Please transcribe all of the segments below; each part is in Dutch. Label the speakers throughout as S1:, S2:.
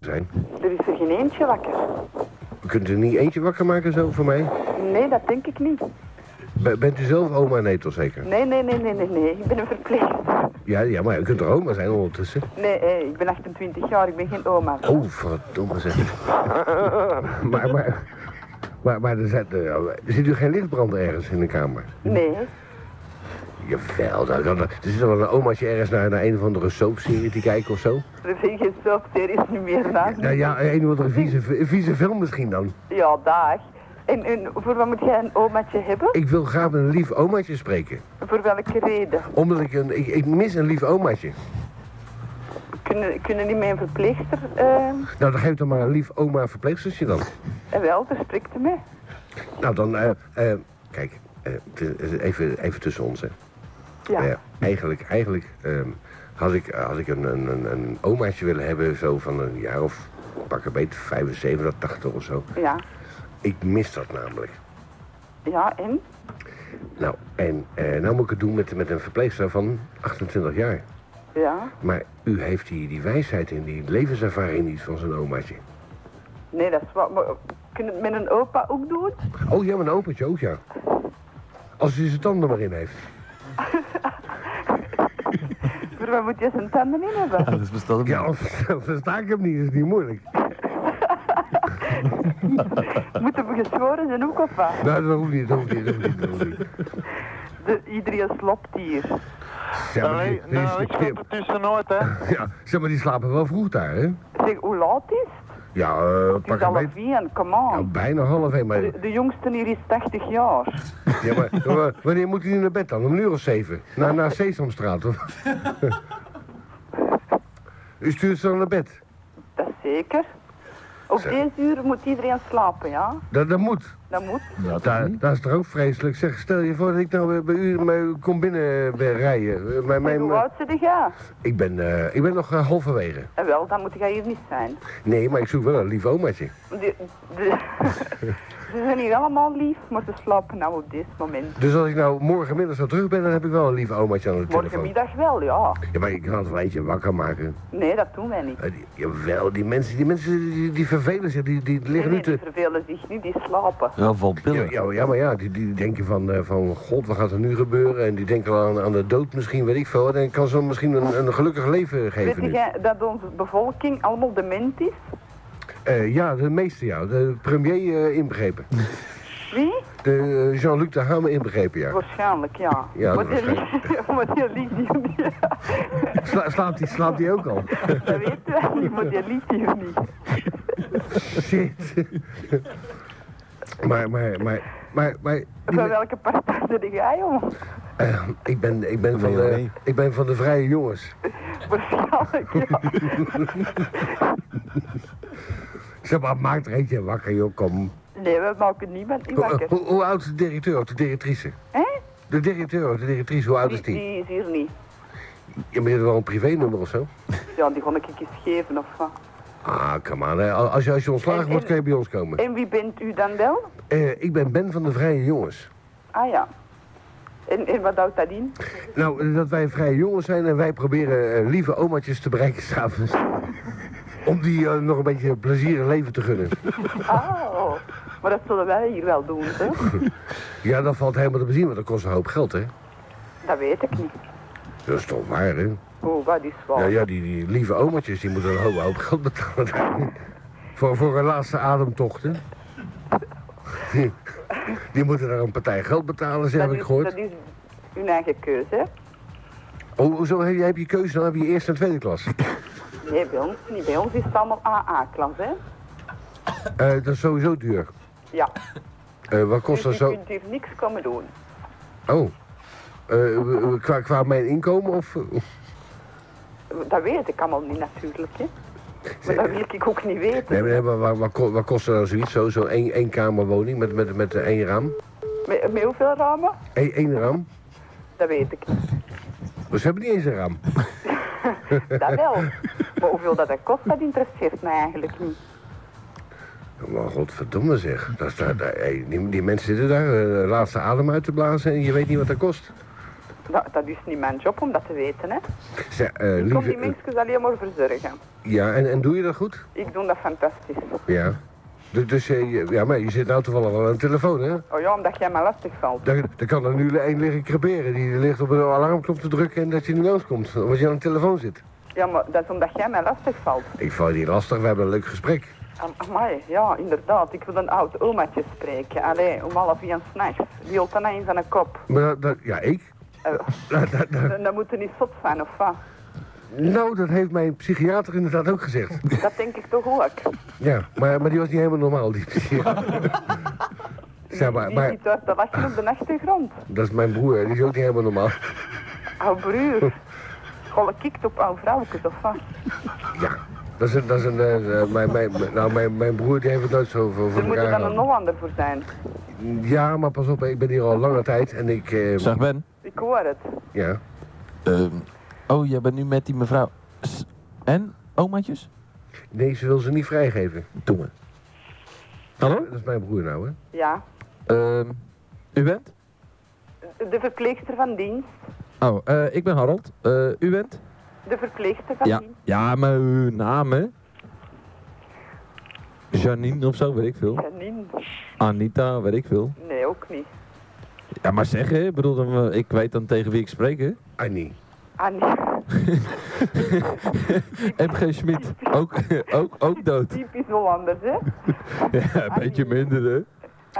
S1: zijn.
S2: Er is er geen eentje wakker.
S1: U kunt er niet eentje wakker maken zo voor mij?
S2: Nee, dat denk ik niet.
S1: B- bent u zelf oma Netel zeker?
S2: Nee, nee, nee, nee, nee, nee. Ik ben een verpleegster.
S1: Ja, ja, maar u kunt er oma zijn ondertussen.
S2: Nee, hé, ik ben 28 jaar, ik ben geen oma.
S1: Oh, verdomme zeg. maar, maar, maar, maar er zit, zit u geen lichtbrand ergens in de kamer?
S2: Nee,
S1: Jawel, nou, dan, er zit wel een omaatje ergens naar, naar een of andere soapserie te kijken of zo.
S2: er is geen soapserie is niet meer na.
S1: Nou ja, een of andere vieze, vieze film misschien dan.
S2: Ja, dag. En, en voor wat moet jij een omaatje hebben?
S1: Ik wil graag met een lief omaatje spreken.
S2: Voor welke reden?
S1: Omdat ik een... Ik, ik mis een lief omaatje.
S2: Kunnen, kunnen niet mijn verpleegster... eh,
S1: Nou, dan geef dan maar een lief oma verpleegstertje dan.
S2: eh, wel, daar spreekt u mee.
S1: Nou, dan... eh, eh, kijk, eh, t- eh, even, even tussen ons, hè.
S2: Ja.
S1: Eh, eigenlijk eigenlijk ehm, had ik, had ik een, een, een, een omaatje willen hebben... zo van een jaar of pak een beet, 75, 80 of zo.
S2: Ja.
S1: Ik mis dat namelijk.
S2: Ja, en?
S1: Nou, en eh, nou moet ik het doen met, met een verpleegster van 28 jaar.
S2: Ja.
S1: Maar u heeft die, die wijsheid en die levenservaring niet van zijn omaatje.
S2: Nee, dat is wat... Maar, kunnen het met een opa ook doen?
S1: Oh ja, mijn opentje ook, ja. Als u zijn tanden maar in heeft.
S2: Voor wat moet je zijn tanden in hebben?
S3: Dat is besteld.
S1: Ja, of of versta ik hem niet, is niet moeilijk.
S2: Moeten we geschoren zijn ook of wat?
S1: Nou, dat hoeft niet, dat hoeft niet, dat hoeft niet. Dat hoeft niet.
S2: De, iedereen slaapt hier.
S1: Zeg maar, die,
S4: Allee,
S1: die-
S4: nou, ik
S1: die-
S4: snap het tussenuit, hè.
S1: ja, zeg maar, die slapen wel vroeg daar, hè?
S2: Zeg, hoe laat is het?
S1: Ja, eh,
S2: Het is
S1: pak een
S2: half
S1: beet.
S2: één, come on.
S1: Nou, bijna half één, maar,
S2: De, de jongste hier is 80 jaar.
S1: ja, maar, ja, maar wanneer moet hij naar bed dan? Om een uur of zeven? Na, naar Sesamstraat, of? U stuurt ze dan naar bed?
S2: Dat is zeker. Op
S1: Zeg.
S2: deze uur moet iedereen slapen, ja?
S1: Dat, dat moet.
S2: Dat moet.
S1: Daar, dat is toch ook vreselijk? Zeg, stel je voor dat ik nou weer bij u bij u kom binnen eh, bij rijden. Eh, Mijn,
S2: En
S1: mijn,
S2: hoe oud zit jij?
S1: ik, ben, eh, ik ben nog eh, halverwege.
S2: En wel, dan moet jij hier niet zijn.
S1: Nee, maar ik zoek wel een lief omaatje.
S2: De, de, ze zijn hier allemaal lief, maar ze slapen nou op dit moment.
S1: Dus als ik nou morgenmiddag zo terug ben, dan heb ik wel een lief omaatje aan de telefoon.
S2: Morgenmiddag wel, ja.
S1: Ja, maar ik kan het wel eentje wakker maken.
S2: Nee, dat doen wij niet.
S1: Eh, die- jawel, die mensen, die, mensen die, die vervelen zich, die, die
S2: Nee,
S1: liggen
S2: nee,
S1: nu
S2: die
S1: te...
S2: vervelen zich niet, die slapen.
S3: Ja, vol
S1: Ja,
S3: pillen.
S1: ja, ja, maar ja, die, die denken van, eh, van, god, wat gaat er nu gebeuren? En die denken al aan, aan de dood misschien, weet ik veel. En ik kan ze misschien een, een gelukkig leven geven
S2: Weet
S1: nu.
S2: jij dat onze bevolking allemaal dement is?
S1: Eh, ja, de meeste ja, de premier eh, inbegrepen.
S2: Wie?
S1: De eh, Jean-Luc de Hamer inbegrepen, ja.
S2: Waarschijnlijk, ja.
S1: Ja,
S2: maar die ligt- maar die ligt hier niet.
S1: Sla- slaapt hij slaapt die ook al?
S2: Dat weten wij niet, maar die ligt hier niet.
S1: Shit. maar, maar, maar, maar, maar... die
S2: Van
S1: me-
S2: welke partij zit jij om?
S1: eh, ik, ben, ik, ben
S3: Van
S1: van de,
S3: VOW.
S1: ik ben van de vrije jongens.
S2: Waarschijnlijk, ja.
S1: Zeg maar, maak er eentje wakker, joh, kom.
S2: Nee, we maken niemand niet
S1: Hoe, eh,
S2: wakker.
S1: hoe- hoe oud is de directeur of de directrice?
S2: Hè?
S1: De directeur of de directrice, hoe oud
S2: Die,
S1: is die?
S2: die is hier niet.
S1: Je bent wel een privénummer of zo?
S2: Ja, die ga ik eens geven of wat.
S1: Ah, come on. hè. Als je, als je ontslagen
S2: En-
S1: wordt,
S2: en-
S1: kun je bij ons komen.
S2: En wie bent u dan wel?
S1: Eh, ik ben Ben van de Vrije Jongens.
S2: Ah ja. En, en wat houdt dat in?
S1: Nou, eh, dat wij vrije jongens zijn en wij proberen eh, lieve omaatjes te bereiken s'avonds. Om die eh, nog een beetje plezier in leven te gunnen.
S2: Oh, maar dat zullen wij hier wel doen, hè?
S1: Ja, dat valt helemaal te bezien, want dat kost een hoop geld, hè?
S2: Dat weet ik niet.
S1: Dat is toch waar, hè?
S2: Oh, wat is
S1: Ja,
S2: waar?
S1: ja die, die lieve omaatjes, die moeten een hoop, hoop geld betalen. voor, voor hun laatste ademtochten. Die- Die moeten daar een partij geld betalen, zeg, heb
S2: dat,
S1: ik
S2: is,
S1: gehoord.
S2: dat is uw eigen keuze, hè?
S1: Oh, hoezo heb je, heb je keuze? Dan heb je eerste en tweede klas.
S2: Nee, bij ons niet. Bij ons is het allemaal AA-klas, hè?
S1: Eh, dat is sowieso duur.
S2: Ja.
S1: Eh, wat kost dat
S2: dus
S1: zo?
S2: u kunt hier niks komen doen.
S1: Oh. Eh, qua, qua mijn inkomen of...
S2: Dat weet ik allemaal niet natuurlijk, hè. Maar dat wil ik ook niet weten.
S1: Nee, maar, nee, maar wat, wat, ko- wat kost er nou zoiets? Zo- Zo'n één, één kamerwoning met, met, met eh, één raam?
S2: Met, met hoeveel ramen?
S1: Eén, één raam?
S2: Dat weet ik niet.
S1: Dus ze hebben niet eens een raam.
S2: Dat wel. Maar hoeveel dat, dat kost, dat interesseert mij eigenlijk niet.
S1: Maar godverdomme zeg. Dat is daar, daar- hey, die, die mensen zitten daar, eh, laatste adem uit te blazen en je weet niet wat dat kost.
S2: Dat, dat is niet mijn job om dat te weten, hè.
S1: Zeg, eh,
S2: Ik kom die
S1: lieve,
S2: mensen alleen maar verzorgen.
S1: ja, en, en doe je dat goed?
S2: Ik doe dat fantastisch.
S1: Ja. Dus, dus eh, je- ja, maar je zit nou toevallig wel aan de telefoon, hè?
S2: Oh ja, omdat jij me lastig valt.
S1: Daar, daar kan er nu één liggen creperen. Die ligt op een alarmknop te drukken en dat je niet langskomt. Omdat je aan de telefoon zit.
S2: Ja, maar dat is omdat jij mij lastig valt.
S1: Ik val je niet lastig, we hebben een leuk gesprek.
S2: Am- Amai, ja, inderdaad. Ik wil een oud omaatje spreken. Allee, om half uur s'nachts. Die holt dan eens aan de kop.
S1: Maar dat, dat- ja, ik?
S2: Eh,
S1: Nou, dat- dat-
S2: dan, dan moet je niet zot zijn, of wat?
S1: nou, dat heeft mijn psychiater inderdaad ook gezegd.
S2: Dat denk ik toch ook.
S1: Ja, maar, maar die was niet helemaal normaal, die psychiater. Zeg maar,
S2: Die
S1: maar,
S2: zit uit te lachen op de achtergrond.
S1: dat is mijn broer, die is ook niet helemaal normaal.
S2: Ouw broer. Golle kikt op ouw vrouwtjes, of wat?
S1: Ja, dat is een, dat is een eh, eh, mijn, mijn, mijn- nou, mijn, mijn broer die heeft het nooit zo voor, voor
S2: Er moet er
S1: elkaar
S2: Dus dan een
S1: gehad.
S2: Hollander voor zijn.
S1: Ja, maar pas op, ik ben hier al lange tijd en ik, eh,
S3: Zeg Ben.
S2: Ik hoor het.
S1: ja.
S3: ehm, oh, jij bent nu met die mevrouw. S- En? Omaatjes?
S1: Nee, ze wil ze niet vrijgeven.
S3: Doe maar. Hallo?
S1: Dat is mijn broer nou, hè.
S2: Ja.
S3: Ehm, u bent?
S2: De verpleegster van dienst.
S3: Oh, eh, ik ben Harold. Eh, u bent?
S2: De verpleegster van dienst.
S3: Ja, maar uw naam hè? Janine of zo, weet ik veel.
S2: Janine.
S3: Anita, weet ik veel.
S2: Nee, ook niet.
S3: Ja, maar zeg hè, ik bedoel, dan, eh, ik weet dan tegen wie ik spreek hè.
S1: Annie.
S2: Annie.
S3: MG Schmid, ook, ook, ook dood.
S2: Typisch Hollanders, hè?
S3: Ja, een beetje minder hè.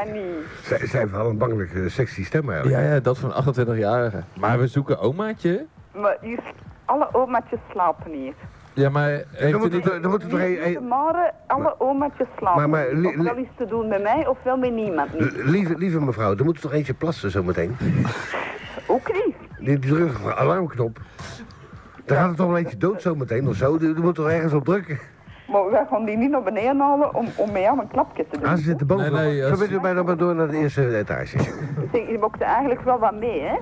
S2: Annie.
S1: Zij, zij heeft wel een bangelijk eh, sexy stem eigenlijk.
S3: Ja, ja, dat van 28-jarige. Maar we zoeken omaatje.
S2: Maar hier, alle omaatjes slapen hier.
S3: Ja, maar heeft
S1: Dan
S3: u
S1: moet het,
S3: niet...
S1: Eh, dan moet het toch
S2: Hier
S1: een-
S2: zitten
S1: een-
S2: maar alle omaatjes slapen.
S1: Maar- maar li- li-
S2: ofwel iets te doen met mij, ofwel met niemand. Niet.
S1: Lieve, lieve mevrouw, er moet er toch eentje plassen zometeen? Eh.
S2: Ook niet.
S1: Die, die drukt op de alarmknop. Daar gaat er toch wel eentje dood zometeen of zo? Er er moet toch ergens op drukken?
S2: Maar wij gaan die niet naar beneden halen om, om met jou een klapje te doen.
S1: Ah, ze zitten boven.
S3: Nee,
S1: Nee,
S3: nee, als-
S1: Verbinden mij dan maar door naar de eerste etage.
S2: Ik denk, je mocht er eigenlijk wel wat mee, hè?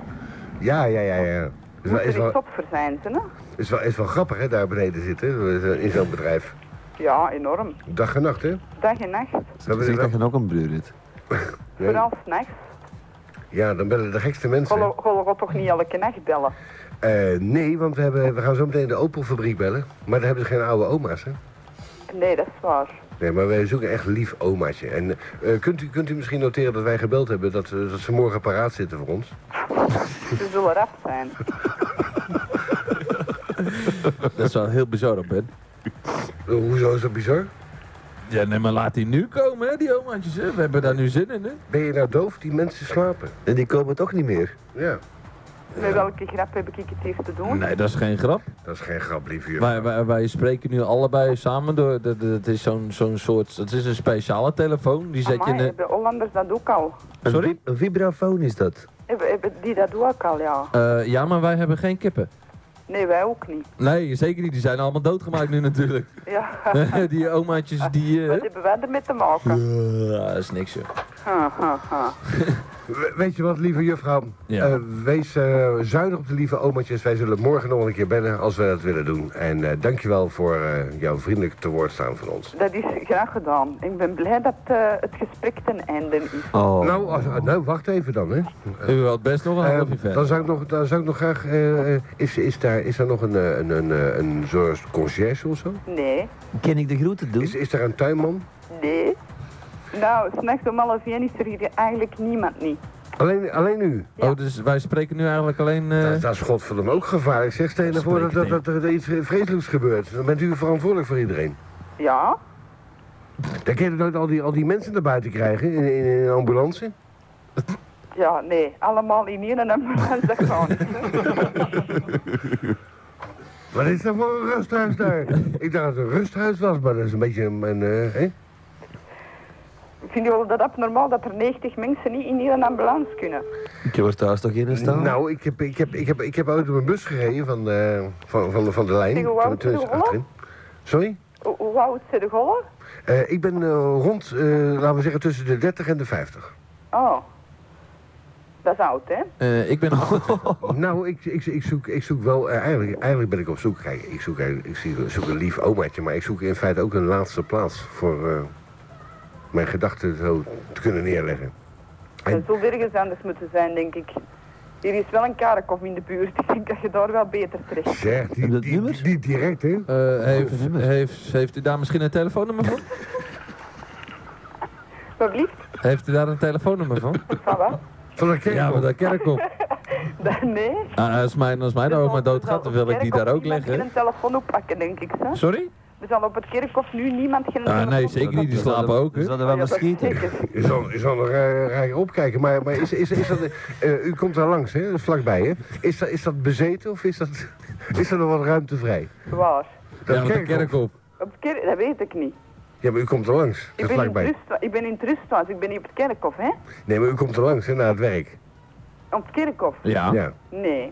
S1: Ja, ja, ja, ja. Is wel, is,
S2: Moet er iets
S1: wel,
S2: op voor zijn, hè?
S1: is, wel, is wel grappig, hè, daar beneden zitten, eh, in zo'n bedrijf.
S2: Ja, enorm.
S1: Dag en nacht, hè?
S2: Dag en nacht.
S1: Dan ben je-
S3: je ook een broer dit.
S2: Vooral s'nachts.
S1: ja, dan bellen de gekste mensen.
S2: Golle golle gaat toch niet elke nacht bellen?
S1: Eh, nee, want we, hebben, we gaan zo meteen de Opel-fabriek bellen. Maar daar hebben ze geen oude oma's, hè?
S2: Nee, dat is waar.
S1: Nee, maar wij zoeken echt lief omaatje. En eh, kunt, u, kunt u misschien noteren dat wij gebeld hebben dat, eh, dat ze morgen paraat zitten voor ons?
S2: Ze zullen rap zijn.
S3: Dat is wel heel bizar op Ben.
S1: Eh, hoezo is dat bizar?
S3: Ja, nee, maar laat die nu komen hè, die omaatjes hè. We hebben daar nu zin in hè.
S1: Ben je nou doof? Die mensen slapen.
S4: En die komen toch niet meer?
S1: Ja,
S2: Met welke grap heb ik het hier te doen?
S3: Nee, dat is geen grap.
S1: dat is geen grap, lieve juffrouw.
S3: Wij, wij, wij spreken nu allebei samen door. Dat, dat is zo'n zo'n soort. Dat is een speciale telefoon. Die zet je
S2: Amai,
S3: in een.
S2: hebben Hollanders dat ook al?
S4: Een
S3: Sorry?
S4: vib- Een vibrafoon is dat.
S2: Hebben, hebben die dat ook al, ja?
S3: Eh, ja, maar wij hebben geen kippen.
S2: Nee, wij ook niet.
S3: Nee, zeker niet. Die zijn allemaal doodgemaakt nu natuurlijk.
S2: Ja,
S3: die omaatjes die. eh,
S2: wat hebben wij ermee te maken?
S3: eh, dat is niks joh.
S2: Ha, ha, ha.
S1: We- Weet je wat, lieve juffrouw?
S3: Ja.
S1: Eh, wees eh, zuinig op de lieve omaatjes. Wij zullen morgen nog wel een keer bellen als we dat willen doen. En eh, dankjewel voor eh, jouw vriendelijk te woord staan van ons.
S2: Dat is graag gedaan. Ik ben blij dat eh, het gesprek ten einde is.
S3: Oh.
S1: Nou, als, ah, nou, wacht even dan, hè.
S3: U had best nog een
S1: Eh,
S3: half uur verder.
S1: dan, zou ik nog, dan zou ik nog graag... eh, eh, is, is, daar, is daar nog een, eh, een, een, eh, een soort conciërge of zo?
S2: Nee,
S4: Ken ik de groeten doen?
S1: Is, is daar een tuinman?
S2: nee. Nou, s'nachts om half één is er hier eigenlijk niemand niet.
S1: Alleen, alleen u?
S3: Oh, dus wij spreken nu eigenlijk alleen. eh,
S1: Dat, dat is godverdomme ook gevaarlijk. Zeg, stel je nou voor dat, dat, dat er iets vreselijks gebeurt. Dan bent u verantwoordelijk voor iedereen.
S2: Ja,
S1: Dan kun je nooit al die, al die mensen naar buiten krijgen in, in, in een ambulance.
S2: ja, nee. Allemaal in één ambulance, dat kan niet. hè.
S1: Wat is dat voor een rusthuis daar? ik dacht dat het een rusthuis was, maar dat is een beetje een... een, eh, hè?
S2: Vind je wel dat abnormaal dat er 90 mensen niet in één ambulance kunnen?
S4: Ik heb er thuis toch in staan?
S1: Nou, ik heb, ik, heb, ik, heb, ik heb ooit op een bus gereden van, eh, van, van, de, van de lijn.
S2: Tegen hoe oud
S1: Toen- toen is
S2: ben je
S1: het achterin. Sorry?
S2: Hoe- Hoe oud zijn de gollen?
S1: Eh, ik ben eh, rond, eh, laten we zeggen, tussen de 30 en de 50.
S2: Oh, dat is oud, hè?
S3: eh, ik ben.
S4: Oh.
S1: Nou, ik, ik, ik, zoek, ik zoek wel... eh, eigenlijk, eigenlijk ben ik op zoek... Kijk, ik zoek, eigenlijk- ik zie- ik zoek een lief omaatje, maar ik zoek in feite ook een laatste plaats voor eh, mijn gedachten zo te kunnen neerleggen. En-
S2: Het zou ergens anders moeten zijn, denk ik. Hier is wel een Karikov in de buurt. Ik denk dat je daar wel beter terecht
S1: Zeg, die,
S4: Heb je dat
S1: die,
S4: nummer?
S1: die, die direct, hè?
S3: Eh, heeft,
S4: Goeie nummer.
S3: heeft, heeft u daar misschien een telefoonnummer van?
S2: Wat blieft?
S3: Heeft u daar een telefoonnummer van?
S2: Van wat?
S1: Van de kerk.
S3: Ja, maar dat kerkhof.
S2: Dat- Nee.
S3: Ah, als, mij, als mij daar ook maar dood gaat, dan wil ik die daar ook
S2: Ik
S3: leggen.
S2: een telefoon oppakken, denk ik. Zo.
S3: Sorry?
S2: Er zal op het kerkhof nu niemand geen
S3: Ah,
S2: telefoon
S3: nee, zeker niet. Die
S4: Ze hadden-
S3: slapen ook, hè?
S4: Ze hadden wel
S2: Oh, Ja, dat
S4: verschieten.
S1: Je
S2: zeker.
S1: zal, je zal er eh, raar opkijken, maar, maar is, is, is dat... eh, u komt daar langs, hè? Vlakbij, hè? Is dat, is dat bezeten of is dat... Is er nog wat ruimte vrij?
S2: Waar?
S1: Dat
S3: ja, met de
S1: kerkhof.
S3: kerkhof.
S2: Op het kerk... Dat weet ik niet.
S1: Ja, maar u komt er langs, eh,
S2: Ik ben, in het
S1: vlakbij.
S2: rustwa- ik ben in het rusthuis, ik ben niet op het kerkhof, hè?
S1: Nee, maar u komt er langs, hè, naar het werk.
S2: Op het kerkhof?
S3: Ja.
S1: Ja.
S2: Nee.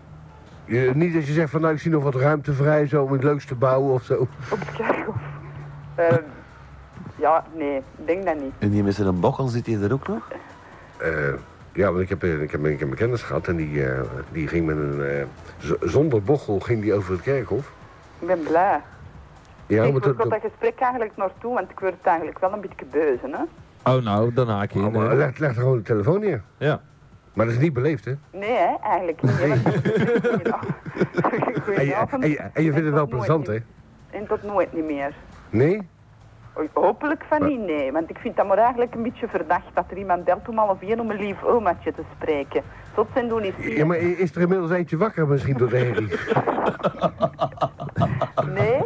S1: Je- niet dat je zegt van, nou, ik zie nog wat ruimte vrij, zo, om het leuks te bouwen of zo.
S2: Op het kerkhof? Ehm, ja, nee, ik denk dat niet.
S4: En die met een bokkel zit hij er ook nog?
S1: Eh, ja, want ik heb, eh, ik, heb, ik heb een kennis gehad en die, eh, die ging met een... eh, z- zonder bochel ging die over het kerkhof.
S2: Ik ben blij.
S1: Ja,
S2: ik
S1: maar
S2: moet
S1: dat...
S2: tot
S1: dat-
S2: dat gesprek eigenlijk naartoe, want ik word het eigenlijk wel een beetje beuzen, hè?
S3: Oh, nou, dan haak je
S1: Oh,
S3: in.
S1: maar
S3: hè.
S1: leg, leg er gewoon de telefoon neer.
S3: Ja.
S1: Maar dat is niet beleefd, hè?
S2: Nee, hè, eigenlijk niet. hè, want ik heb het gesprek gedaan.
S1: En je,
S2: Goedenavond.
S1: en je- en je vindt het wel
S2: tot nooit
S1: plezant,
S2: niet-
S1: hè?
S2: En tot nooit niet meer.
S1: Nee?
S2: Ho- Hopelijk van niet, nee. Want ik vind dat maar eigenlijk een beetje verdacht dat er iemand belt om half één om een lief omaatje te spreken. Tot zijn doen is
S1: Ja, maar i- is er inmiddels eentje wakker misschien door de herrie?
S2: Nee,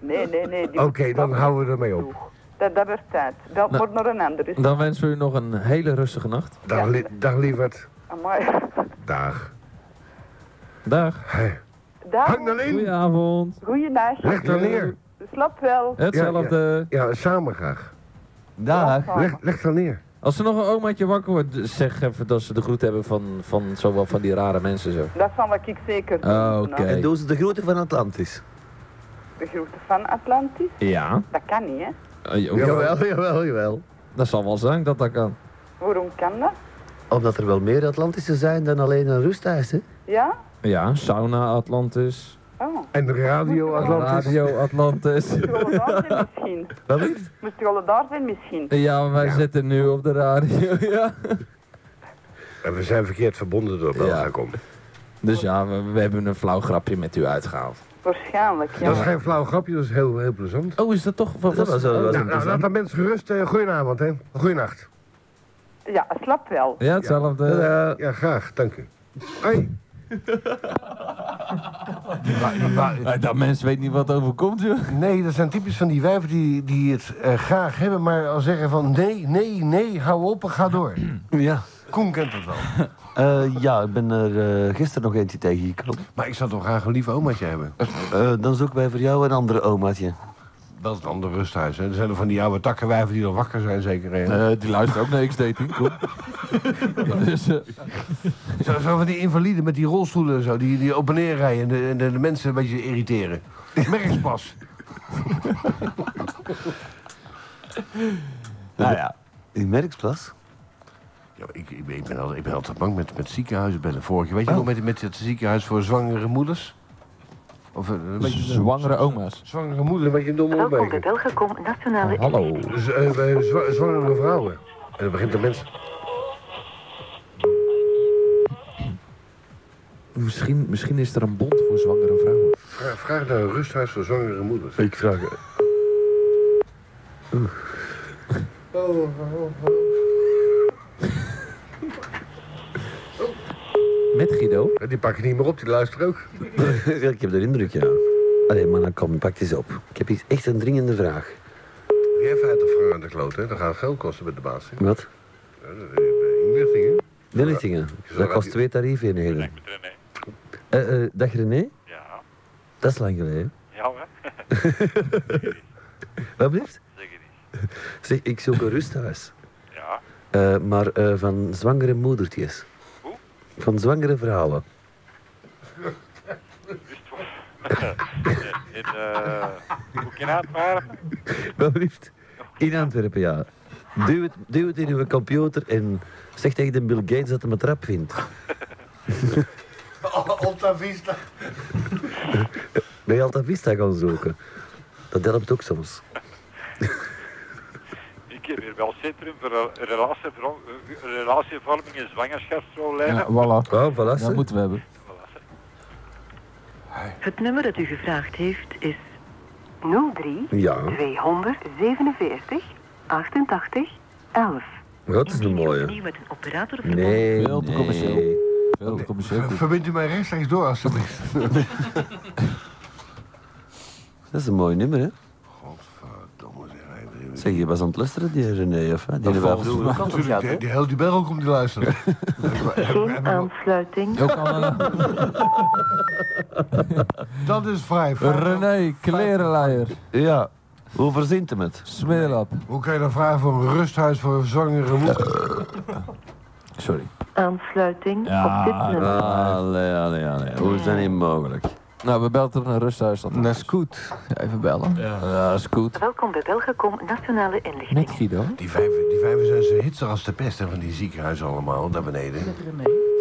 S2: nee, nee. nee die-
S1: Oké, dan Nou, houden we ermee op.
S2: Dat, dat werd tijd. Belt maar naar een ander. Dus.
S3: Dan wensen we u nog een hele rustige nacht.
S1: Dag,
S2: Ja.
S1: li dag lieverd.
S2: Amai.
S1: Dag.
S3: Dag.
S2: Dag.
S1: Hang alleen!
S3: Goedenavond.
S2: Goeiedag.
S1: Leg daar neer. Eh,
S2: Slap wel.
S3: Hetzelfde.
S1: Ja, samen graag.
S4: Dag.
S1: Leg, leg daar neer.
S3: Als er nog een omaatje wakker wordt, zeg even dat ze de groet hebben van, van zowel van die rare mensen zo.
S2: Dat zal ik zeker doen.
S1: Ah,
S3: Oh, oké.
S2: Nou,
S4: En doen ze de groeten van Atlantis.
S2: De groeten van Atlantis.
S3: Ja.
S2: Dat kan niet, hè?
S3: Eh, jo-
S1: Jawel,
S4: jawel, jawel.
S3: Dat zal wel zijn dat dat kan.
S2: Waarom kan dat?
S4: Omdat er wel meer Atlantische zijn dan alleen een rusthuis, hè?
S2: Ja?
S3: Ja, sauna Atlantis.
S2: Oh.
S1: En Radio Atlantis.
S3: Radio Atlantis.
S2: Moest je wel daar zijn misschien?
S4: Wel lief.
S2: Moest je wel daar zijn misschien?
S3: Ja, wij zitten nu op de radio. Ja.
S1: En we zijn verkeerd verbonden door Belgacom.
S3: Dus ja, we, we hebben een flauw grapje met u uitgehaald.
S2: Waarschijnlijk, ja.
S1: Dat is geen flauw grapje, dat is heel, heel plezant.
S3: Oh, is dat toch? Wat
S4: Dat
S3: was
S4: was wel-
S3: oh,
S4: was-
S1: Nou, nou, laat dat mensen gerust. eh, goedenavond, hè. Goeienacht.
S2: Ja, slap wel.
S3: Ja, hetzelfde.
S4: Eh.
S1: Ja, graag. Dank u. Hoi.
S3: Eh, dat mens weet niet wat overkomt, joh.
S1: Nee, dat zijn typisch van die wijven die, die het eh, graag hebben, maar al zeggen van nee, nee, nee, hou op en ga door.
S4: Ja.
S1: Koen kent het wel.
S4: Eh, ja, ik ben er eh, gisteren nog eentje tegengekomen.
S1: Maar ik zou toch graag een lief omaatje hebben.
S4: Eh, dan zoeken wij voor jou een andere omaatje.
S1: Dat is een ander rusthuis. Hè. Er zijn er van die oude takkenwijven die al wakker zijn, zeker. hè.
S3: Eh, die luistert ook naar X-Dating, dus, eh,
S1: Zo, zo van die invaliden met die rolstoelen en zo, die, die op en neer rijden en de, en de, de mensen een beetje irriteren. Merkspas.
S3: Ah,
S4: Nou ja. In Merksplas?
S1: Ja, ik, ik, ben- ik ben altijd, ik ben altijd bang met, met ziekenhuizen bellen. Vorig jaar, weet je nog, met, met het ziekenhuis voor zwangere moeders? Of, eh, weet je,
S3: zwangere oma's.
S1: zwangere moeder, weet je, een domme
S5: Welkom bij
S1: opmerking.
S5: Belgacom Nationale
S3: Hallo.
S1: Z- eh, bij zwa- zwangere vrouwen. En dan begint de mens...
S3: Misschien, misschien is er een bond voor zwangere vrouwen.
S1: Vraag, vraag naar een rusthuis voor zwangere moeders.
S4: Ik vraag...
S3: Met Guido.
S1: Eh, Die pakken niet meer op, die luisteren ook.
S4: ik heb de indruk, ja. Allee, maar dan kom, pak eens op. Ik heb hier echt een dringende vraag.
S1: Die even uit de vraag aan de kloot, hè. Dan gaan geld kosten met de baas. hè.
S4: Wat?
S1: Eh, eh, Inlichtingen.
S4: De richtingen. Dat kost twee tarieven. Eh eh dag René?
S6: Ja,
S4: Dat is lang geleden.
S6: ja hè?
S4: Wat blijft?
S6: Zeg je niet.
S4: Zeg, ik zoek een rusthuis.
S6: Ja,
S4: Eh, maar eh, van zwangere moedertjes.
S6: Hoe?
S4: Van zwangere vrouwen.
S6: wist wat. In, eh, hoe kan het maar?
S4: Wat blijft? In Antwerpen, ja. Duw het, duw het in uw computer en zeg tegen de Bill Gates dat hij een trap vindt.
S1: Alta Vista.
S4: Ben je Alta Vista gaan zoeken? Dat helpt ook soms.
S6: Ik heb weer wel centrum voor re- relatieverho- eh, relatievorming en zwangerschapsrollijnen.
S5: Ja, voilà.
S4: Oh, voilà.
S5: Dat
S4: ze.
S5: moeten we hebben.
S7: Het nummer dat u gevraagd heeft is 03
S4: Ja,
S7: 247 88 11.
S4: dat is een mooie.
S7: Indien u met een operator verbonden
S4: Nee,
S5: Veel te commercieel.
S4: nee.
S5: Veel te commercieel.
S1: Ver- Verbindt u mij rechtstreeks door, alstublieft.
S4: Dat is een mooi nummer, hè?
S1: Godverdomme, zeg hij.
S4: Zeg, je was aan het luisteren, die René, of wat? Die hebben we vroeger ook al
S1: Natuurlijk,
S4: gehad,
S1: die,
S4: hè?
S1: die huilt die bel ook om die luisteren.
S7: Geen aansluiting.
S5: Ook al eh,
S1: Dat is vrij. Vraag-
S5: René, klerenleier,
S4: Ja. Hoe verzint hem het?
S5: smeerlap.
S1: Hoe kan je dan vragen voor een rusthuis voor een zwangere moeder?
S5: Sorry.
S7: Aansluiting
S5: Ja,
S7: op dit nummer.
S4: Allee, allee, allee. Hoe is dat niet mogelijk?
S5: Nou, we belden er een rusthuis dan.
S8: Dat is goed. Even bellen.
S5: Ja, is goed.
S7: Welkom bij Belgacom Nationale Inlichtingen.
S5: Met Guido.
S1: Die vijven, die vijven zijn zo hitsig als de pest hè, van die ziekenhuizen allemaal, daar beneden.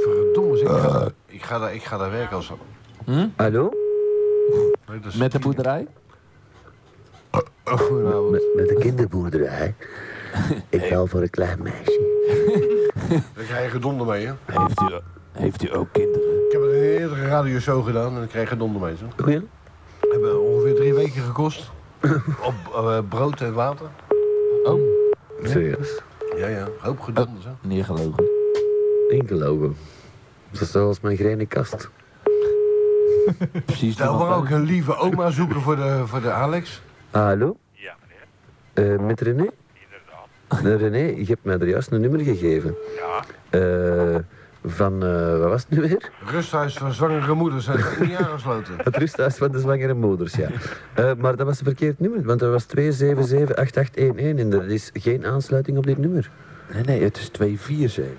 S1: Verdomme zeg. Ik, ga daar, ik ga daar werken als...
S4: Eh. Hallo?
S1: Nee, dat is-
S5: Hm? Met de boerderij.
S1: Oh, goedenavond.
S9: Met de kinderboerderij. Ik bel voor een klein meisje.
S1: Daar krijg je gedonder mee, hè?
S5: Heeft u, heeft u ook kinderen?
S1: Ik heb het in een eerdere radioshow gedaan en ik kreeg gedonder mee. Zo.
S4: Goeie?
S1: Hebben ongeveer drie weken gekost. Op eh, brood en water.
S5: Oh,
S4: Serieus?
S1: Ja, ja. Een hoop gedonder,
S5: Eh,
S1: zo.
S5: neergelogen.
S4: Ingelopen. Dat is zoals mijn grijne kast.
S5: Precies.
S1: Zou
S5: die
S1: we
S5: nog
S1: ook een lieve oma zoeken voor de, voor de Alex?
S4: Ah, Hallo?
S6: Ja, meneer,
S4: Eh, met René? Eh,
S6: inderdaad.
S4: René, je hebt mij er juist een nummer gegeven.
S6: Ja,
S4: Eh, van, eh, wat was het nu weer?
S1: Rusthuis voor zwangere moeders zijn ze niet aangesloten.
S4: Het rusthuis van de zwangere moeders, ja. Eh, maar dat was een verkeerd nummer, want dat was 2778811 en er is geen aansluiting op dit nummer.
S8: Nee, nee, het is 247.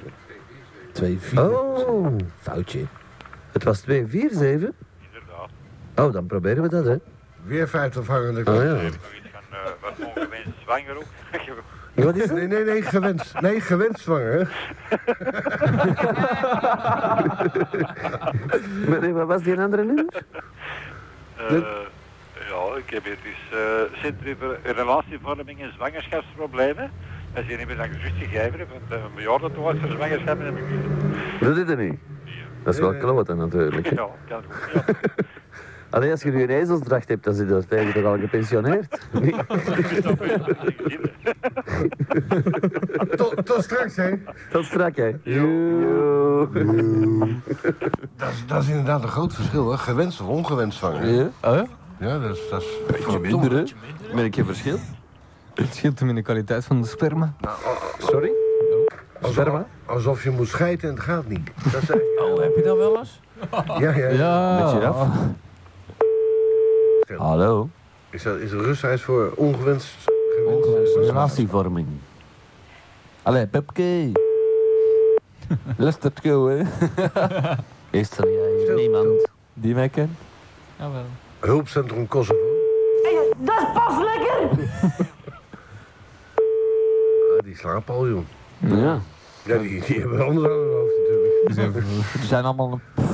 S8: 24.
S4: Oh,
S8: Foutje.
S4: het was 247?
S6: inderdaad.
S4: Oh, dan proberen we dat, hè.
S1: Weer 50 hangende
S4: Oh,
S1: kant.
S4: ja.
S6: Nog iets van eh, wat ongewenst zwanger ook.
S4: Wat is het?
S1: Nee, nee, nee, gewenst. Nee, gewenst zwanger. hè?
S4: Maar, eh, Wat was die andere nummer?
S6: Eh, ja, ik heb hier dus eh Centrum voor Relatievorming en Zwangerschapsproblemen. Dat is hier niet meer dan gerust gegeven, hè, want eh, een bejaarde te voor zwangerschap heb ik niet.
S4: Dat is er niet. Dat is wel kloten natuurlijk. hè.
S6: Ja, kan ook niet. anders.
S4: Alleen als je nu een ezelsdracht hebt, dan zit dat tegen toch al gepensioneerd. Nee?
S1: Tot, tot straks, hè?
S4: Dat is strak, hè. Joe.
S1: Dat is, dat is inderdaad een groot verschil, hè? Gewenst of ongewenst zwanger. Ja,
S8: Oh,
S1: dat is... Dat is
S8: minder,
S4: Merk je verschil?
S8: Het scheelt hem in de kwaliteit van de sperma.
S4: Sorry?
S1: alsof, alsof je moet scheiden en het gaat niet. Dat is,
S3: Oh, heb je dat wel eens?
S1: ja, ja. ja.
S5: Ja.
S4: Beetje af. Hallo?
S1: Is, dat, is er rusthuis voor ongewenst... gewenst-
S4: Relatievorming.
S5: Allee, Pepke. Luistert goed, hè?
S4: Is er jij niemand?
S5: Die mij kent.
S8: Jawel.
S1: Hulpcentrum Kosovo.
S10: Dat is pas lekker!
S1: Ah, die slapen al, joh.
S5: eh,
S4: Ja.
S1: Ja, die, die hebben anders aan hun hoofd natuurlijk.
S8: Ze zijn,
S5: Die zijn allemaal... een-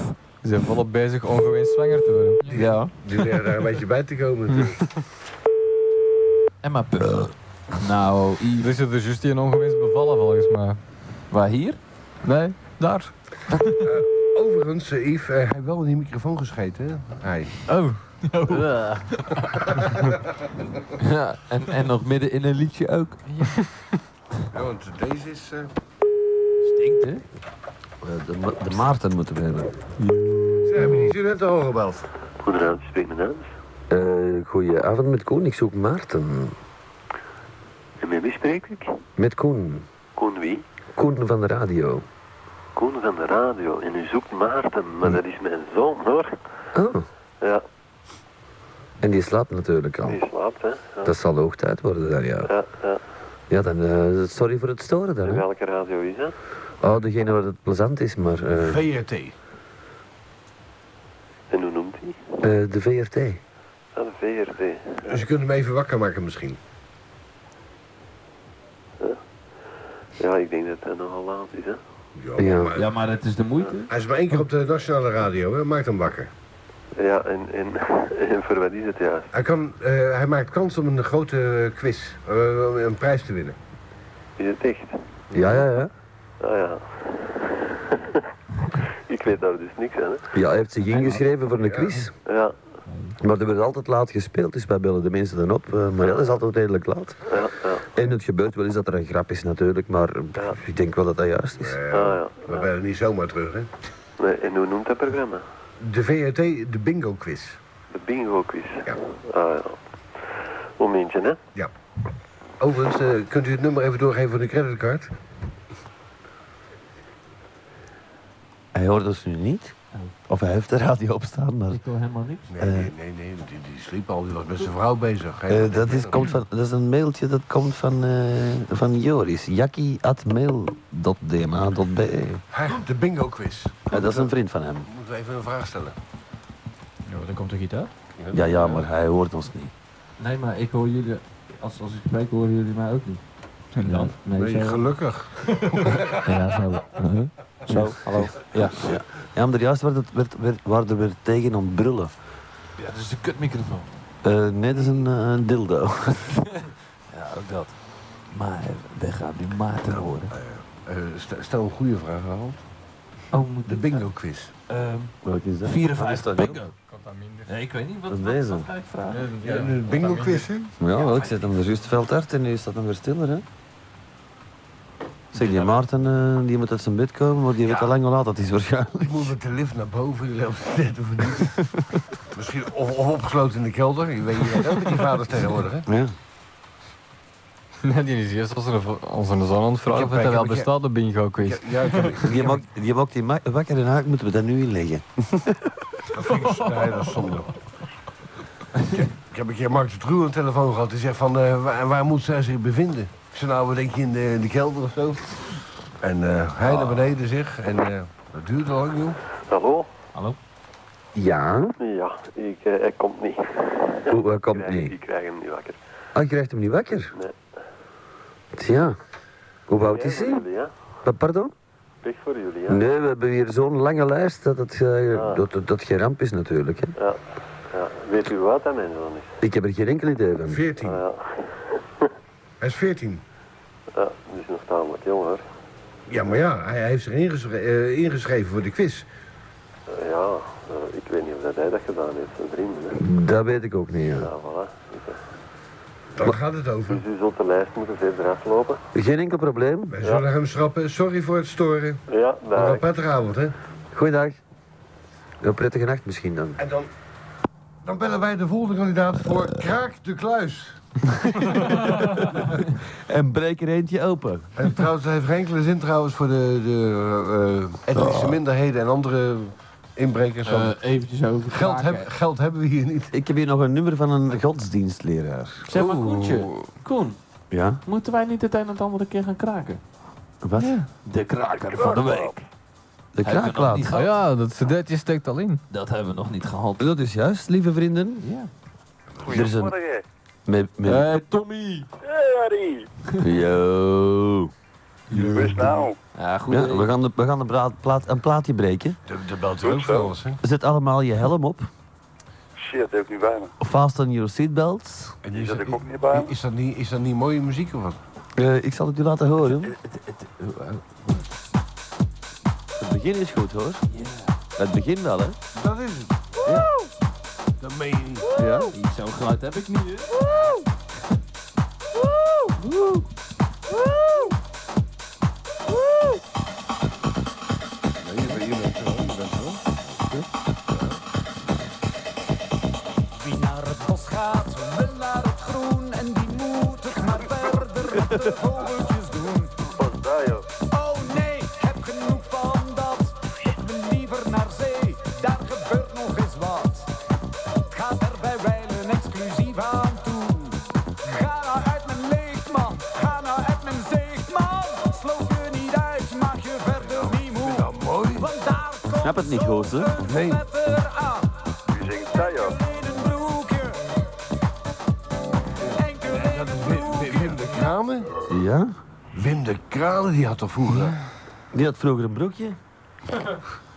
S8: ze zijn volop bezig ongewenst zwanger te worden.
S5: Ja.
S1: Die leren daar een beetje bij te komen natuurlijk.
S5: En maar puff. Nou,
S8: Er
S5: Yves.
S8: is Dus er juist een ongewenst bevallen volgens mij.
S5: Waar hier?
S8: Nee, daar.
S1: Overigens, eh, Yves, eh, hij heeft wel in die microfoon gescheten, hè? Hij.
S8: Oh.
S5: Ja, en, en nog midden in een liedje ook.
S1: Ja, want deze is... eh,
S5: Stinkt, hè?
S4: Eh, De, Ma- de Maarten moeten we hebben.
S1: Ze hebben die zo net al gebeld.
S9: Goedenavond, spreek mijn naam.
S4: Eh goedenavond met Koen, ik zoek Maarten.
S9: En met wie spreek ik?
S4: Met Koen.
S9: Koen wie?
S4: Koen van de radio.
S9: Koen van de radio. En u zoekt Maarten, maar dat is mijn zoon hoor.
S4: Oh,
S9: Ja,
S4: en die slaapt natuurlijk al.
S9: die slaapt hè. Ja,
S4: Dat zal hoog tijd worden dan, ja.
S9: ja. ja.
S4: Ja, dan, eh, sorry voor het storen dan,
S9: En
S4: hè.
S9: welke radio is dat?
S4: Oh, degene waar het plezant is, maar... eh,
S1: VRT.
S9: En hoe noemt hij?
S4: eh, de VRT.
S9: Ah, de VRT.
S1: Dus je kunt hem even wakker maken misschien.
S9: Ja, ik denk dat dat nogal laat is hè.
S4: Ja.
S1: maar-
S5: Ja, maar dat is de moeite.
S1: Hij is maar één keer op de nationale radio, hè? maakt hem wakker.
S9: Ja, en, en, en voor wat is het juist?
S1: Hij, kan, eh, hij maakt kans om een grote quiz, eh, om een prijs te winnen.
S9: Is het echt?
S4: Ja, ja, ja.
S9: Ah ja. ik weet daar dus niks aan, hè.
S4: Ja, hij heeft zich ingeschreven voor een quiz.
S9: Ja,
S4: Maar er wordt altijd laat gespeeld, dus wij bellen de mensen dan op. eh, maar ja, dat is altijd redelijk laat.
S9: ja, ja.
S4: En het gebeurt wel eens dat er een grap is natuurlijk, maar eh, pff, ik denk wel dat dat juist is.
S9: Ah ja.
S1: We bellen niet zomaar terug, hè.
S9: Nee, en hoe noemt dat programma?
S1: De VRT, de bingo quiz.
S9: De bingo quiz.
S1: Ja.
S9: Ah ja. Momentje, hè.
S1: Overigens, eh, kunt u het nummer even doorgeven van de creditcard?
S4: Hij hoort ons nu niet. Of hij heeft de radio op staan, maar
S5: Ik wil helemaal niks.
S1: Nee, nee, nee, nee, die, die sliep al, die was met zijn vrouw bezig. Geen-
S4: eh, dat, is, komt van, dat is een mailtje dat komt van, eh, van Joris. Jackie.mail.dma.be
S1: Hè, de bingo quiz.
S4: Eh, Dat is een vriend van hem.
S1: Moeten we even een vraag stellen?
S5: Ja, dan komt de gitaar.
S4: Ja, ja, maar hij hoort ons niet.
S5: Nee, maar ik hoor jullie... Als, als ik spreek horen jullie mij ook niet. Ja, nee,
S1: Nee,
S5: zo.
S1: gelukkig.
S5: Ja, zo. Uh-huh. Zo, hallo. Ja.
S4: Hm. Ja, maar juist werd het, werd, werd, waren er weer tegen om brullen.
S5: Ja, dat is de kutmicrofoon.
S4: Eh, nee, dat is een eh, een dildo.
S5: Ja, ook dat. Maar we gaan nu Maarten horen.
S1: Eh, st- stel een goede vraag, Harold.
S5: Oh, moet
S1: De bingo quiz.
S5: Ehm
S4: Welke is dat?
S5: 54
S4: Wat is
S5: bingo. Nee, ik weet niet wat,
S4: Wat is
S5: wat,
S4: deze?
S5: wat ga ik vragen.
S1: Ja, de bingo quiz, hè?
S4: Ja, wel, ik zet hem er juist veld uit en nu staat hem weer stiller, hè? Zeg, die Maarten, eh, die moet uit zijn bed komen, maar die weet al lang hoe laat dat is waarschijnlijk.
S1: Ik moet met de lift naar boven, die loopt net of niet. Misschien of, of opgesloten in de kelder, je weet je ook met die vaders tegenwoordig, hè?
S4: Ja.
S11: Nee, die is eerst als een, als een zon aan het vragen of het
S1: Ik heb- ik
S11: wel
S1: heb- ik heb-
S11: bestaat, de bingo quiz.
S1: Ja, ja, ik heb,
S4: Die maakt die, maakt die ma- wakker en haak moeten we dat nu inleggen.
S1: dat vind ik nee, dat is zonde. Ik heb- Ik heb een keer Mark de Truw aan de telefoon gehad. Die zegt van, eh, waar, waar moet zij zich bevinden? Ik zei, nou, wat denk je, in de, in de kelder of zo? En eh,
S11: Ah.
S1: hij naar beneden, zeg. En eh, dat duurde lang, joh.
S9: Hallo?
S4: Ja,
S9: Ja, ik, eh, hij komt niet.
S4: hoe hij komt
S9: Krijg-
S4: niet.
S9: Ik krijg hem niet wakker.
S4: Ah, je krijgt hem niet wakker?
S9: Nee.
S4: Tja, hoe oud
S9: Pech
S4: is
S9: voor
S4: hij?
S9: jullie, hè.
S4: Pa- Pardon?
S9: Pech voor jullie, hè.
S4: Nee, we hebben hier zo'n lange lijst dat het eh, dat, dat, dat geen ramp is natuurlijk. Hè.
S9: Ja. ja. Weet u wat dat mijn zoon is?
S4: Ik heb er geen enkel idee van.
S1: 14.
S9: Ah, ja.
S1: Hij is 14.
S9: ja, die is nog tamelijk jong, hoor.
S1: Ja, maar ja, hij heeft zich ingeschre- eh, ingeschreven voor de quiz.
S9: Eh, ja, eh, ik weet niet of dat hij dat gedaan heeft, zijn vrienden. hè.
S4: Dat weet ik ook niet. ja.
S9: Ja, voilà.
S1: Daar gaat het over.
S9: Dus u zult de lijst moeten verder aflopen.
S4: Geen enkel probleem.
S1: Wij zullen hem schrappen. Sorry voor het storen.
S9: Ja,
S1: Maar
S9: daar.
S1: een prettige avond, hè?
S4: Goeiedag. Een prettige nacht misschien dan.
S1: En dan, dan bellen wij de volgende kandidaat voor Kraak de Kluis.
S4: En breek er eentje open.
S1: En trouwens, dat heeft geen enkele zin trouwens voor de, de eh, etnische minderheden en andere inbrekers. want
S5: eventjes over
S1: geld, heb- geld hebben we hier niet.
S4: Ik heb hier nog een nummer van een godsdienstleraar.
S5: Zeg maar Koentje. Koen,
S4: Ja?
S5: moeten wij niet het een en het ander een keer gaan kraken?
S4: Wat?
S5: De kraker van de week.
S4: De
S5: Hebben we nog
S4: kraaklaat.
S5: niet
S11: Ah
S5: gehad?
S11: ja, dat cd'tje steekt al in.
S5: Dat hebben we nog niet gehad.
S4: Dat is juist, lieve vrienden.
S5: Ja.
S4: Er is een... Met, met...
S3: Eh,
S5: Hey Tommy.
S4: Yo.
S6: nou?
S5: Ja, goed.
S4: Ja,
S5: Ja,
S4: we gaan, de, we gaan de braad- plaat, een plaatje breken.
S1: De, de belt ook wel eens, hè?
S4: Zet allemaal je helm op.
S6: Shit, heb ik niet bij me.
S4: Fasten your seatbelts.
S1: En
S6: Die
S1: is,
S6: zat
S1: dat-
S6: ik ook niet bij me.
S1: is, dat niet, is dat niet mooie muziek of wat?
S4: Eh, ik zal het u laten horen. Het begin is goed hoor. Het begin wel hè.
S1: Dat is het. Dat meen je niet.
S4: Ja.
S5: Zo'n geluid heb ik niet. hè.
S1: Nee, je bent- je bent er wel, je bent er wel.
S12: Wie naar het bos gaat, wil naar het groen. En die moet het maar verder met de vogeltjes doen.
S9: Pas daar, joh.
S12: Oh nee, ik heb genoeg van dat. Ik wil liever naar zee, daar gebeurt nog eens wat. Het gaat er bij wijlen exclusief aan toe. Ga nou uit mijn leeg, man. Ga nou uit mijn zeeg, man. Sloop je niet uit, maak je verder niet moe.
S1: Mooi.
S12: Want daar
S4: Snap
S12: komt
S4: het niet, gozer.
S12: een
S1: Nee.
S12: letter aan.
S9: Wie zingt dat, joh?
S12: Enkel in
S1: Dat is Wim,
S12: een
S1: Wim-
S12: broekje.
S1: Wim de Kranen.
S4: Ja?
S1: Wim de Kranen, die had toch vroeger...
S4: Die had vroeger een broekje.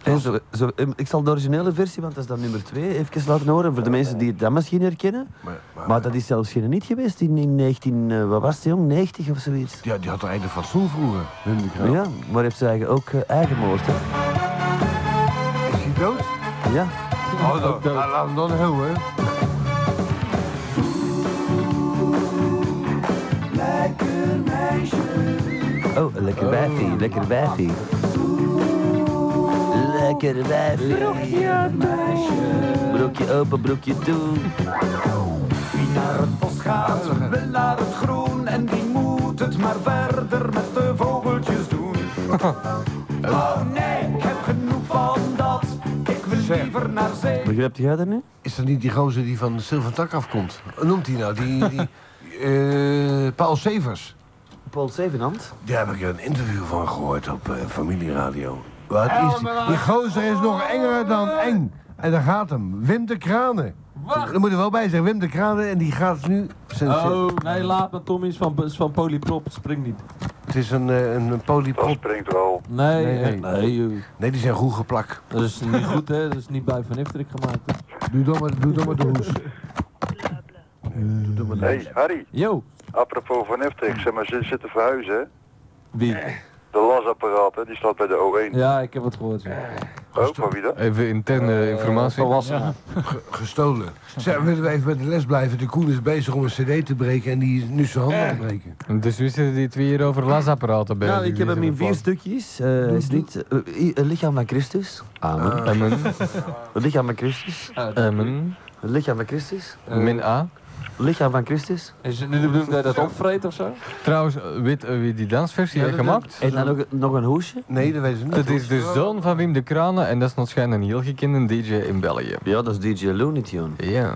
S4: En zo, zo, em, ik zal de originele versie, want dat is dan nummer 2, even laten horen. Voor de mensen die het dan misschien herkennen.
S1: Maar,
S4: Maar, dat is zelfs geen niet geweest in, in 19, eh, wat was het jong, 90 of zoiets.
S1: Ja, die had er eigenlijk fatsoen vroeger, Wim de Kraal.
S4: Ja, maar heeft ze eigenlijk ook eh, eigen moord, hè?
S1: Is hij dood?
S4: Ja.
S1: Oh, dan, nou, laat hem dan heel, hè.
S4: Oh, een lekker wijfie, lekker wijfie. Lekker wijfie. Broekje Broekje open, broekje toe.
S12: Wie naar het bos gaat, wil naar het groen. En die moet het maar verder met de vogeltjes doen. Oh nee, ik heb genoeg van dat. Ik wil liever naar zee.
S4: Begrijpt jij dat nu?
S1: Is dat niet die gozer die van Silvertak afkomt? Hoe noemt hij nou? Die, die eh, Paul Severs.
S4: Paul Sevenant?
S1: Daar heb ik een interview van gehoord op eh, familieradio. Wat is die? Die gozer is nog enger dan eng. En daar gaat hem. Wim de Kranen. Wacht. Daar moet je wel bij zeggen. Wim de Kranen en die gaat nu... zijn-
S3: Oh, nee, laat maar Tom is van, is van Polyprop, het springt niet.
S1: Het is een, eh, een polypop. Dat
S6: springt wel.
S3: Nee,
S1: Nee,
S3: nee,
S1: nee. Nee, die zijn goed geplakt.
S3: Dat is niet goed, hè? Dat is niet bij Van Ifterik gemaakt. hè.
S1: Doe dan maar, doe dan maar de hoes. Eh, Nee, doe dan maar de
S13: Hey, Harry.
S3: Yo.
S13: Apropos van Efteling, zeg maar, ze zitten verhuizen, hè?
S3: Wie?
S13: De lasapparaat, hè? Die staat bij de O1.
S3: Ja, ik heb het gehoord. Ja.
S13: Oh, van wie dat?
S11: Even interne
S3: Eh,
S11: informatie.
S1: Ge- gestolen. Zeg, willen we even bij de les blijven? De Koen is bezig om een cd te breken en die is nu zijn handen aan het breken.
S11: Dus wie zitten die twee hier over lasapparaten bij?
S4: Nou, ik heb hem in vier stukjes. Eh, is dit eh, i- het lichaam van Christus? Amen.
S11: Ah. Amen.
S4: Het lichaam van Christus?
S11: Amen.
S4: Het lichaam van Christus?
S11: Min A.
S4: Lichaam van Christus?
S3: Is het nu de bedoeling dat je dat opvreet of zo?
S11: Trouwens, eh, weet eh, wie die dansversie
S4: Ja,
S11: heeft
S4: dat-
S11: gemaakt?
S4: En dan nog, nog een hoesje?
S1: Nee, dat weten ze niet.
S11: Dat is dus de zoon van Wim de Kranen en dat is nog schijnbaar een heel gekende DJ in België.
S4: Ja, dat is DJ Looney Tune.
S11: Ja.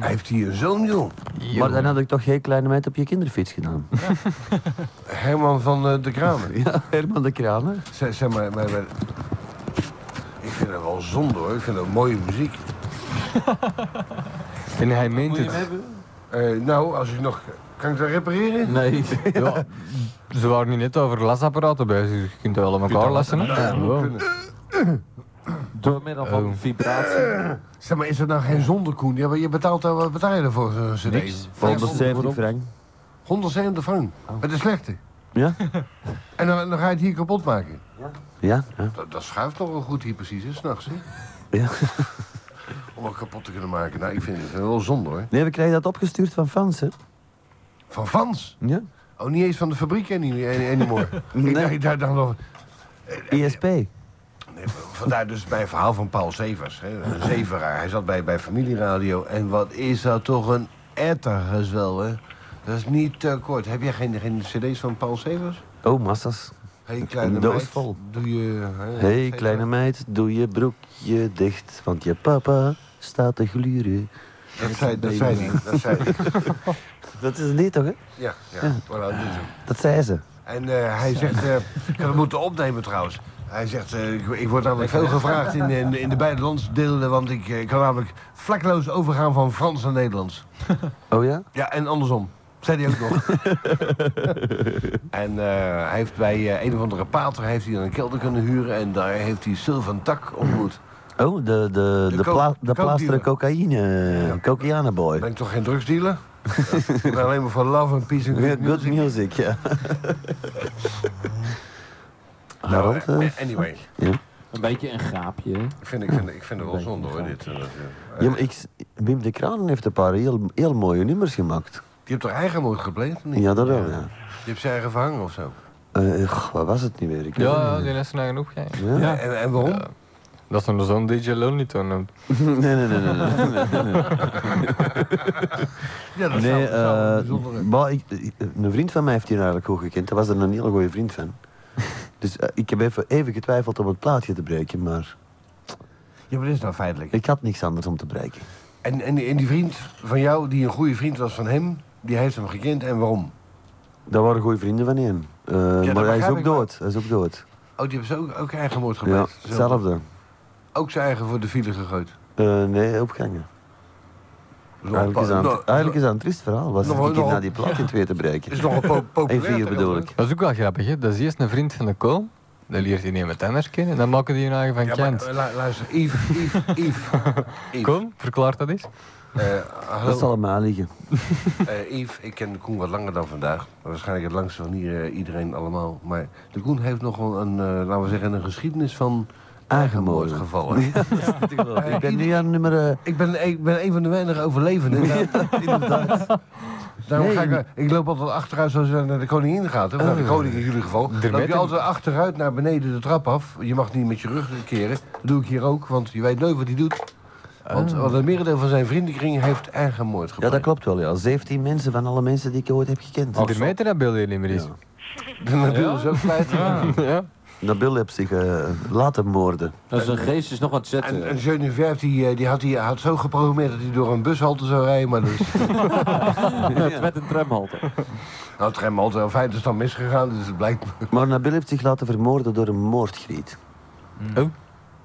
S1: Hij heeft hier een zoon, joh.
S4: Maar dan had ik toch geen kleine meid op je kinderfiets gedaan.
S1: Herman van eh, de Kramer.
S4: ja, Herman de Kramer.
S1: Zeg, zeg maar, maar, maar- ik vind dat wel zonde hoor. Ik vind dat mooie muziek.
S11: En hij meent
S1: Moet je
S11: het.
S1: Eh, nou, als ik nog... Kan ik dat repareren?
S3: Nee.
S11: Ja, ze waren nu net over lasapparaten bezig, dus je kunt wel aan elkaar lassen. hè?
S1: Ja, dat moet
S11: Wow.
S1: kunnen.
S3: Door middel van
S11: Ehm.
S3: vibratie.
S1: Zeg maar, is dat nou geen zonde, Koen? Ja, maar je betaalt daar, wat betaal je eh, daarvoor, zo'n cd?
S4: Niks.
S1: 500
S4: 170 frank.
S1: 170 frank.
S4: Oh.
S1: Met de slechte.
S4: Ja?
S1: En dan, dan ga je het hier kapot maken.
S4: Ja? ja.
S1: Dat, dat schuift toch wel goed hier precies, hè, s'nachts, hè?
S4: Ja.
S1: Om het kapot te kunnen maken. Nou, ik vind het wel zonde, hoor.
S4: Nee, we krijgen dat opgestuurd van fans, hè?
S1: Van Vans?
S4: Ja.
S1: Oh, niet eens van de fabriek any- any- anymore.
S4: Nee.
S1: Ik dacht- Ik dacht dan nog...
S4: ESP.
S1: Nee, vandaar dus mijn verhaal van Paul Severs. Hè. Een zeveraar. Hij zat bij, bij Familieradio. En wat is dat toch een ettergezwel, hè? Dat is niet te kort. Heb jij geen, geen cd's van Paul Severs?
S4: Oh, massa's.
S1: Hé, hey, kleine
S4: Een doos
S1: meid,
S4: vol.
S1: Doe je... hè,
S4: Hé, hey,
S1: etcetera.
S4: kleine meid, doe je broekje dicht, want je papa staat te gluren.
S1: Dat zei, dat zei hij. Dat zei hij.
S4: Dat is niet toch, hè?
S1: eh. Ja, ja.
S4: Ja.
S1: Voilà, dit is hem.
S4: Dat zei ze.
S1: En eh, hij zegt, eh, ik had het moeten opnemen trouwens. Hij zegt, eh, ik, ik word namelijk veel gevraagd in, in, in de beide landsdelen, want ik eh, kan namelijk vlekloos overgaan van Frans naar Nederlands.
S4: Oh ja?
S1: Ja, en andersom. Zei hij ook nog. en eh, hij heeft bij eh, een of andere pater heeft hij dan een kelder kunnen huren en daar heeft hij Sylvan Tak ontmoet.
S4: Oh, de, de, de,
S1: kook-
S4: pla-
S1: de
S4: de plaster
S1: kookdealer.
S4: cocaïne, ja. cocaïneboy.
S1: Ben ik toch geen drugsdealer? ik ben alleen maar voor love and peace en good
S4: Good
S1: music.
S4: music, ja.
S1: Nou,
S4: Harold, eh,
S1: eh, anyway,
S3: Een beetje een gaapje. hè?
S1: ik vind, ik vind, ik vind het wel zonde hoor, dit. eh,
S4: ja, maar ik, s- Wim de Kranen heeft een paar heel, heel mooie nummers gemaakt.
S1: Je hebt toch eigen moord gepleegd? of niet?
S4: Ja, dat wel, ja.
S1: Je hebt ze eigen verhangen of zo.
S4: Eh, goh, wat was het niet meer? Ik weet
S11: Ja, ja,
S4: het niet
S11: die lessen zijn genoeg. Ja.
S4: meer. Ja?
S1: En, en waarom?
S11: Dat is een zo'n DJ Lonely Tone noemt.
S4: nee, nee, nee, nee. nee, nee, nee.
S1: Ja, dat zou,
S4: Nee,
S1: dat zou een
S4: eh,
S1: bijzondere-
S4: maar ik- ik- een vriend van mij heeft die eigenlijk goed gekend. Hij was er een hele goede vriend van. Dus eh, ik heb even, even getwijfeld om het plaatje te breken, maar
S1: Ja, maar dat is nou feitelijk.
S4: ik had niks anders om te breken.
S1: En, en, en die vriend van jou, die een goede vriend was van hem, die heeft hem gekend en waarom?
S4: Dat waren goede vrienden van hem. Eh,
S1: dat
S4: maar hij is
S1: begrijp
S4: ook
S1: ik wel.
S4: dood. Hij is ook dood.
S1: Oh, die hebben ze ook, ook eigen moord
S4: Ja,
S1: gepleegd? Zo.
S4: hetzelfde.
S1: Ook zijn eigen voor de file gegooid?
S4: Eh, nee, opgangen. Eigenlijk is dat
S1: Nou,
S4: een, eigenlijk is dat een triest verhaal. Was
S1: Nog-
S4: ik
S1: nog-
S4: naar die plaat in twee te breken.
S1: is nogal po- populair.
S4: En vier bedoel
S1: tegenwoordig.
S4: ik.
S11: Dat is ook wel grappig, hè? Dat is eerst een vriend van de kool Dan leert hij niet met tenders kennen. Dan maken die hun eigen van
S1: Ja, maar,
S11: Kent.
S1: eh, lu- luister, Yves, Yves, Yves. Yves.
S11: Kom, verklaar dat eens.
S1: Eh, hallo.
S4: Dat zal hem aanliggen.
S1: Eh, Yves, ik ken de Koen wat langer dan vandaag. Waarschijnlijk het langste van hier eh, iedereen allemaal. Maar de Koen heeft nog wel een, eh, laten we zeggen, een geschiedenis van aangemoord gevallen.
S4: Ik ben nu aan nummer... eh,
S1: Ik ben, ik ben een van de weinige overlevenden. inderdaad. Daarom ga ik, eh,
S4: Nee.
S1: ik loop altijd achteruit zoals je naar de koningin gaat. Hè? Of naar de koning in jullie geval.
S11: Er
S1: Dan loop
S11: werd
S1: je
S11: een-
S1: altijd achteruit naar beneden de trap af. Je mag niet met je rug keren. Dat doe ik hier ook, want je weet nooit wat hij doet. Want,
S4: Ah.
S1: want het merendeel van zijn vriendenkring heeft eigen moord
S4: Ja,
S1: gepleegd.
S4: dat klopt wel, ja. 17 mensen van alle mensen die ik ooit heb gekend.
S11: Die Ah. meten dat beeld hier niet meer eens.
S1: De Nabil
S11: Ja?
S1: is ook kwijt.
S11: Ja.
S4: Nabil heeft zich eh, laten moorden.
S3: Dat is een geest is nog wat zetten.
S1: En, en Geneviève die, eh, die had, die had zo geprogrammeerd dat hij door een bushalte zou rijden, maar dat is...
S3: Het werd een tramhalte.
S1: nou, het remhalte, in feite is dan misgegaan, dus het blijkt...
S4: Maar Nabil heeft zich laten vermoorden door een moordgriet.
S11: Oh.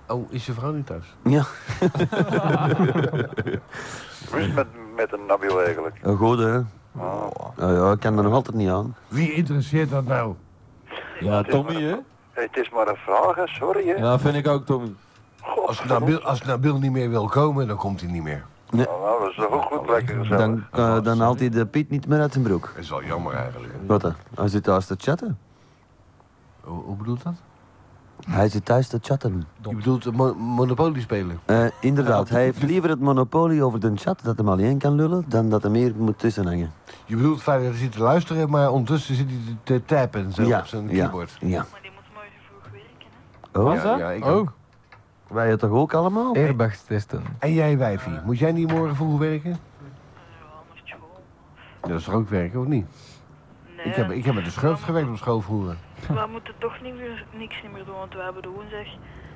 S1: Oh, is je vrouw nu thuis?
S4: Ja.
S13: Hoe is het met, met een Nabil eigenlijk?
S4: Een goede, hè?
S13: Oh.
S4: Nou ja, ik kan er nog altijd niet aan.
S1: Wie interesseert dat nou?
S3: Ja, Tommy, hè?
S13: Hey, het is maar een vraag, hè. sorry hè.
S3: Ja, vind ik ook, Tommy.
S1: Als Nabil, als Nabil niet meer wil komen, dan komt hij niet meer.
S4: Nee.
S13: Nou, dat is toch ook goed lekker gezellig.
S4: Dan, eh, dan haalt hij de Piet niet meer uit zijn broek.
S1: Dat is wel jammer eigenlijk. hè.
S4: Wat dan? Hij zit thuis te chatten.
S1: Hoe, hoe bedoelt dat?
S4: Hij zit thuis te chatten.
S1: Je bedoelt eh, mo- Monopoly spelen?
S4: Eh, inderdaad, hij heeft liever het monopolie over de chat dat hem alleen kan lullen, dan dat hem hier moet tussenhangen.
S1: Je bedoelt vaak dat hij zit te luisteren, maar ondertussen zit hij te, te tappen zo op zijn
S4: ja,
S1: keyboard.
S4: ja.
S1: Ja,
S4: Oh,
S1: ja, ik
S11: Oh.
S1: ook.
S4: wij het toch ook allemaal?
S11: Airbags testen.
S1: En jij, wijfie, moet jij niet morgen vroeg werken? Dat is toch ook werken, of niet? Ik heb, ik heb met de schurft gewerkt op school vroeger.
S14: We moeten toch niet meer, niks niet meer doen, want we hebben de woensdag